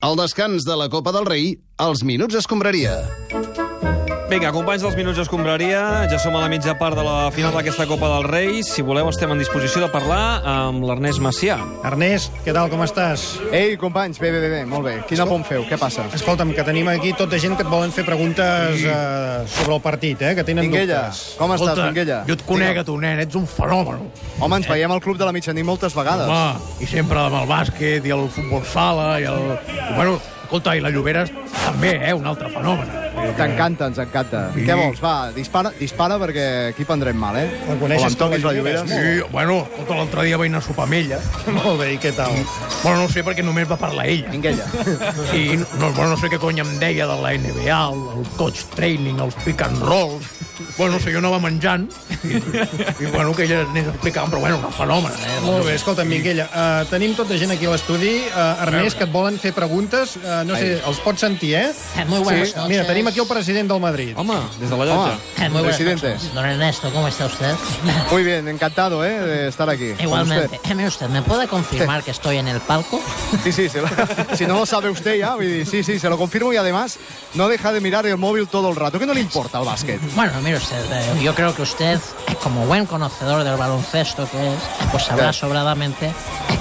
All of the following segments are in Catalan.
Al descans de la Copa del Rei, els minuts escombraria. Vinga, companys dels Minuts Escombraria, ja som a la mitja part de la final d'aquesta Copa del Rei. Si voleu, estem en disposició de parlar amb l'Ernest Macià. Ernest, què tal, com estàs? Ei, companys, bé, bé, bé, bé molt bé. Quina pont feu? Què passa? Escolta'm, que tenim aquí tota gent que et volen fer preguntes eh, sobre el partit, eh, que tenen Minguella, dubtes. com estàs, Minguella? jo et conec a tu, nen, ets un fenomen. Home, ens veiem al Club de la Mitjanit moltes vegades. Home, i sempre amb el bàsquet, i el futbol sala, i el... I, bueno, escolta, i la Llobera també, eh, un altre fenomen. T'encanta, ens encanta. Sí. Què vols? Va, dispara, dispara perquè aquí prendrem mal, eh? El coneixes, Com em toquis tu, la la llobera. Lloberes, Sí. Sí, bueno, escolta, l'altre dia vaig anar a sopar amb ella. Molt bé, i què tal? Bueno, no ho sé perquè només va parlar ella. Eh, Minguella. I no, bueno, no sé què cony em deia de la NBA, el, el coach training, els pick and rolls... Bueno, no sé, jo anava menjant i, i bueno, que ella anés explicant, però bueno, un fenomen, eh? Molt bé, escolta, Minguella, eh, tenim tota gent aquí a l'estudi, eh, Ernest, que et volen fer preguntes, eh, no sé, els pots sentir, eh? Muy buenas noches. eh? Mira, tenim aquí el president del Madrid. Home, des de la Home, Eh, llotja. Muy buenas presidente. noches. Don Ernesto, ¿cómo está usted? Muy bien, encantado, eh, de estar aquí. con Igualmente. usted. Eh, mire usted, ¿me puede confirmar que estoy en el palco? Sí, sí, se lo- si no lo sabe usted ya, voy a decir, sí, sí, se lo confirmo y además no deja de mirar el móvil todo el rato. ¿Qué no le importa el básquet? Bueno, mire usted, eh, yo creo que usted, eh, como buen conocedor del baloncesto que es, eh, pues sabrá Sí. sobradamente eh,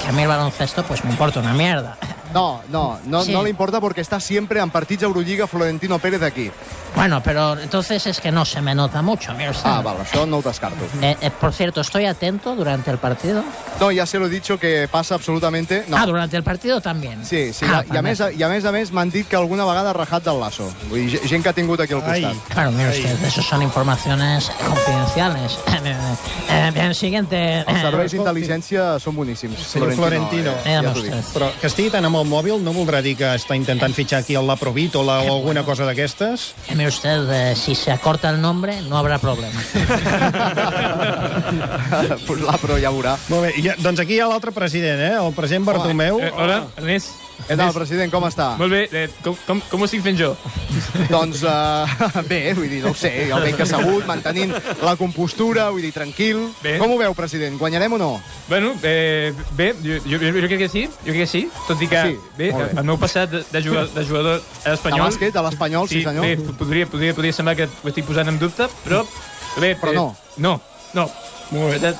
que a mí el baloncesto pues me importa una mierda. No, no, no, Sí. no le importa porque está siempre en partits Eurolliga Florentino Pérez aquí. Bueno, pero entonces es que no se me nota mucho, mire usted. Ah, vale, yo no ho descarto. Eh, eh, por cierto, ¿estoy atento durante el partido? No, ya se lo he dicho que pasa absolutamente... No, Ah, durante el partido también. Sí, sí, Ah, i, a, i, a més, i a més a més m'han dit que alguna vegada ha rajat del lasso. Vull dir, ge- gent que ha tingut aquí al Ai. costat. Ai. Claro, mire Ahí. usted, eso son informaciones confidenciales. Eh, bien, siguiente. Els eh, serveis d'intel·ligència són boníssims. Senyor Florentino. eh, Eh, ja amb t'ho dic. vostès. Però que estigui tan amb el mòbil no voldrà dir que està intentant fitxar aquí el Laprovitola o alguna cosa d'aquestes? Eh, Mire usted, eh, si se acorta el nombre, no habrá problema. pues la, però ja veurà. Molt bé, i ja, doncs aquí hi ha l'altre president, eh? El president Bartomeu. Eh, hola, Ernest. Què tal, president, com està? Molt bé, eh, com, com, com ho estic fent jo? doncs uh, bé, vull dir, no ho sé, jo el veig assegut, mantenint la compostura, vull dir, tranquil. Bé. Com ho veu, president, guanyarem o no? Bueno, eh, bé, jo, jo, jo crec que sí, jo crec que sí, tot i que Sí, bé, molt bé. el meu passat de, de, jugador, de jugador a De espanyol... bàsquet, a l'Espanyol, sí, senyor. bé, po- podria, podria, podria semblar que ho estic posant en dubte, però... Bé, Però no. Eh, no, no. Molt bé.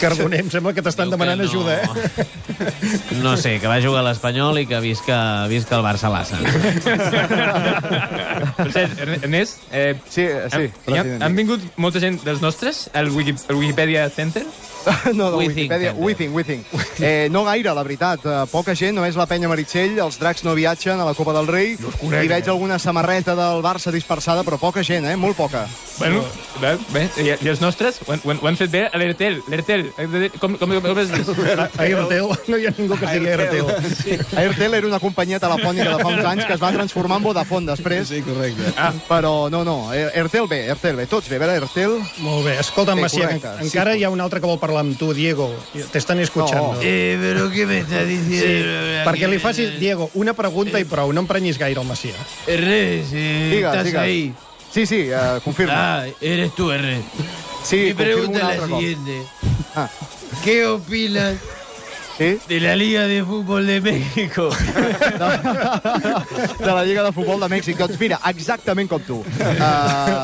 Cardoner, em sembla que t'estan demanant ajuda, eh? No sé, que va jugar a l'Espanyol i que visca, visca el Barça-Lassa. per cert, Ern- Ernest, eh, Sí, eh, sí, han, president. han, han vingut molta gent dels nostres al Wiki, al Wikipedia Center? No, de We Wikipedia. think, We think, we think. Eh, no gaire, la veritat. Eh, poca gent, només la penya Meritxell, els dracs no viatgen a la Copa del Rei. I veig alguna samarreta del Barça dispersada, però poca gent, eh? Molt poca. Bueno, bé, bé, i, i els nostres ho han, ho han- ho han fet bé a l'Ertel, l'Ertel, eh, com, com, com es diu? A Irteu Ah, no hi ha ningú que sigui Irteu. Airtel era una companyia telefònica de fa uns anys que es va transformar en Vodafone després. Sí, correcte. Ah. Però no, no, eh, Airtel bé, Airtel bé. Tots bé, a veure, Airtel... Molt bé, escolta'm, Sí, Macià, correcte. en- encara hi ha un altre que vol parlar amb tu, Diego. T'estan escuchant. No. No. Eh, però què me está diciendo? Perquè eh, li facis, Diego, una pregunta i prou, no emprenyis gaire el Macià. Ernest, eh, Digas, estás digas. ahí. Sí, sí, eh, confirma. Ah, eres tú, Ernest. sí, Mi confirmo pregunta un es la altre cop. siguiente. Ah. ¿Qué opinas Sí? de la Liga de Fútbol de México? De, de la Lliga de Futbol de Mèxic. Doncs mira, exactament com tu. Eh,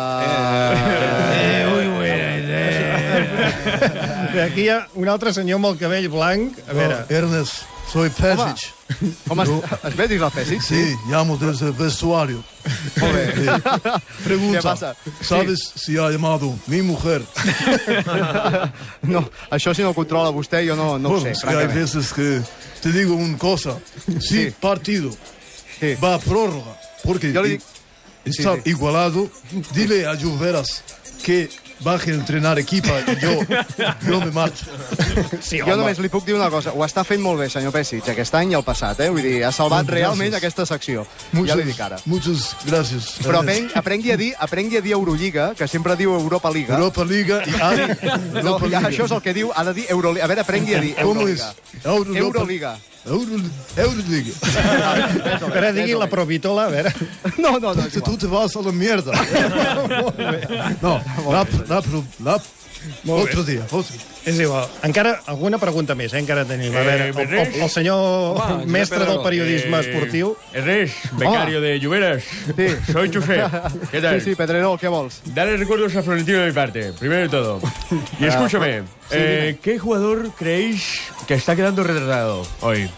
Uh, Eh, muy buena esa, eh. Bé, Aquí hi ha un altre senyor amb el cabell blanc. A veure, Oh, Ernest, soy Pesic. com es, es ve dir la Pessic? Sí, llamo desde el vestuario. Molt bé. Pregunta, ¿Qué pasa? ¿sabes si ha llamado mi mujer? No, això si no ho controla vostè jo no, no ho Bueno, sé, es que hay francament. veces que te digo una cosa. Si Sí. partido Sí. va a prórroga, porque Yo le digo- i- está sí, sí. igualado, dile a Lluveras que baje a entrenar equipa y yo, yo me marcho. sí, Jo home. només li puc dir una cosa, ho està fent molt bé, senyor Pessic, aquest any i el passat, eh? Vull dir, ha salvat Gràcies. realment aquesta secció. Ja li dic ara. muchas gracias. Però aprengui, Ernest. aprengui, a dir, aprengui a dir Eurolliga, que sempre diu Europa Liga. Europa Liga y Ari. No, ja, això és el que diu, ha de dir Euroliga. A veure, aprengui a dir ¿Cómo es? Euroliga. Euro- Euroliga. Euro- Euroliga. Ara digui eh. la provitola, a veure. No, no, no, és Que tú igual. te vas a la mierda. No, la, la, pro- la Molt bé. Otro día, otro día. És igual. Encara, alguna pregunta més, eh? encara tenim. A veure, el, el, el senyor Home, mestre Pedrerol, del periodisme esportiu. Ernest, becario de Lluveras. Ah. Sí. Soy Josep. ¿Qué tal? Sí, sí, Pedrerol, ¿qué vols? Dale recuerdos a Florentino de mi parte, primero de todo. Y Ah, escúchame, eh, ¿qué jugador creéis que está quedando retratado hoy?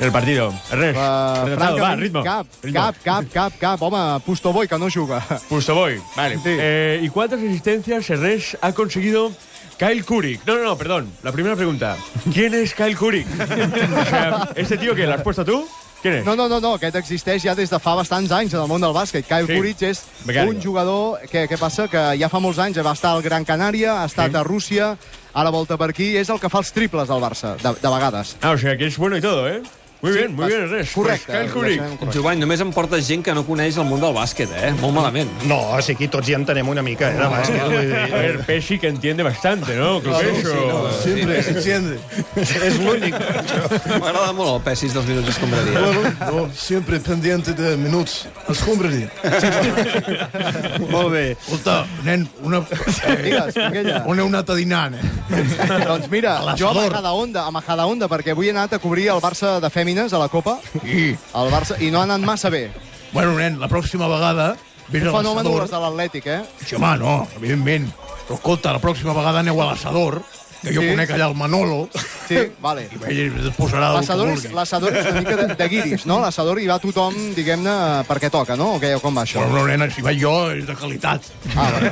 En el partido. Ernest, Uh, retratado, va, ritmo. Cap, ritmo. cap, cap, cap, cap. Home, Pustoboi, que no juga. Justo voy. Vale. Sí. Eh, ¿Y cuántas asistencias Ernest ha conseguido Kyle Kurik? No, no, no, perdón. La primera pregunta. ¿Quién es Kyle Kurik? o sea, ¿este tío que ¿Lo has puesto tú? ¿Quién es? No, no, no, no, aquest existeix ja des de fa bastants anys en el món del bàsquet. Kyle Sí. sí. Kuric és Becario. un jugador... Què, què passa? Que ja fa molts anys va estar al Gran Canària, ha estat sí. a Rússia, ara volta per aquí, és el que fa els triples al Barça, de, de vegades. Ah, o sea, que es bueno y todo, ¿eh? Muy bien, muy vas- bien, Ernest. Correcte. Pues Kyle ho Kurik. deixem correcte. Jovany, només em porta gent que no coneix el món del bàsquet, eh? Molt malament. No, o sigui, aquí tots hi entenem una mica, eh, de bàsquet. Vull dir, A ver, Pesci que entiende bastante, ¿no? Claro, Siempre, ¿entiendes? és l'únic. M'agrada molt el P6 dels minuts escombraria. Bueno, no, siempre pendiente de minutos. Escombraria. Molt bé. Escolta, nen, una... eh, Digues, Minguella. On heu anat a dinar, nen? Doncs mira, A la jo a Salor. Majadahonda, a Majadahonda, perquè avui he anat a cobrir el Barça de Fèmines a la Copa, I, el Barça, i no ha anat massa bé. bueno, nen, la pròxima vegada... Vés a Fenomen l'assador. les de l'Atlètic, eh? Sí, home, no, evidentment. Però escolta, la pròxima vegada aneu a l'assador, que jo Sí. sí. conec allà el Manolo, Sí, vale. i ell es posarà el que L'assador és, vulgui. l'assador és una mica de, de guiris, no? L'assador hi va tothom, diguem-ne, perquè toca, no? O què, o com va això? Però, no, nena, si vaig jo, és de qualitat. Ah, vale.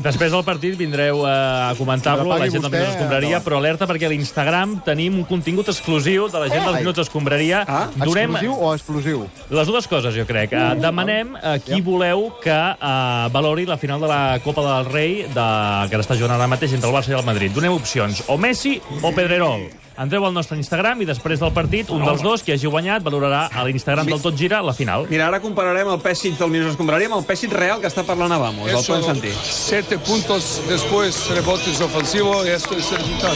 Després del partit vindreu eh, a comentar-lo a la Apagui gent dels vostè, Minuts Escombraria, endavant. però alerta perquè a l'Instagram tenim un contingut exclusiu de la gent dels Ai. Minuts Escombraria. Ah, Donem eh, Exclusiu o explosiu? les dues coses, jo crec. Eh, Demanem a qui voleu que eh, valori la final de la Copa del Rei de... que està jugant ara mateix entre el Barça i el Madrid. Donem opcions, o Messi o Pedrerol. Entreu al nostre Instagram i després del partit, un dels dos, qui hagi guanyat, valorarà a l'Instagram del Tot Gira la final. Mira, ara compararem el P6 del minuts escombraria amb el P6 real que està parlant a Vamos. El podem sentir. siete puntos después, rebotes ofensivos, esto es el resultado.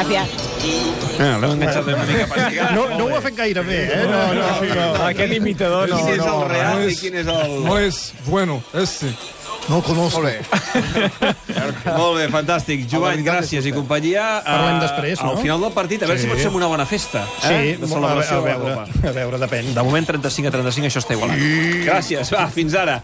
Ah, L'hem enganxat una mica per lligar. No, no ho ha fet gaire bé, eh? No, no, no. Aquest imitador no. Quin és el real i quin és el... es bueno, este. No conozco. Molt bé, fantàstic. Jovany, gràcies i companyia. Parlem Eh, després, no? Al final del partit, a veure si pots fer una bona festa. Sí, Eh? De celebració de a la veure, Copa. a veure, depèn. De moment, 35 a 35, això està igualat. Gràcies, va, fins ara.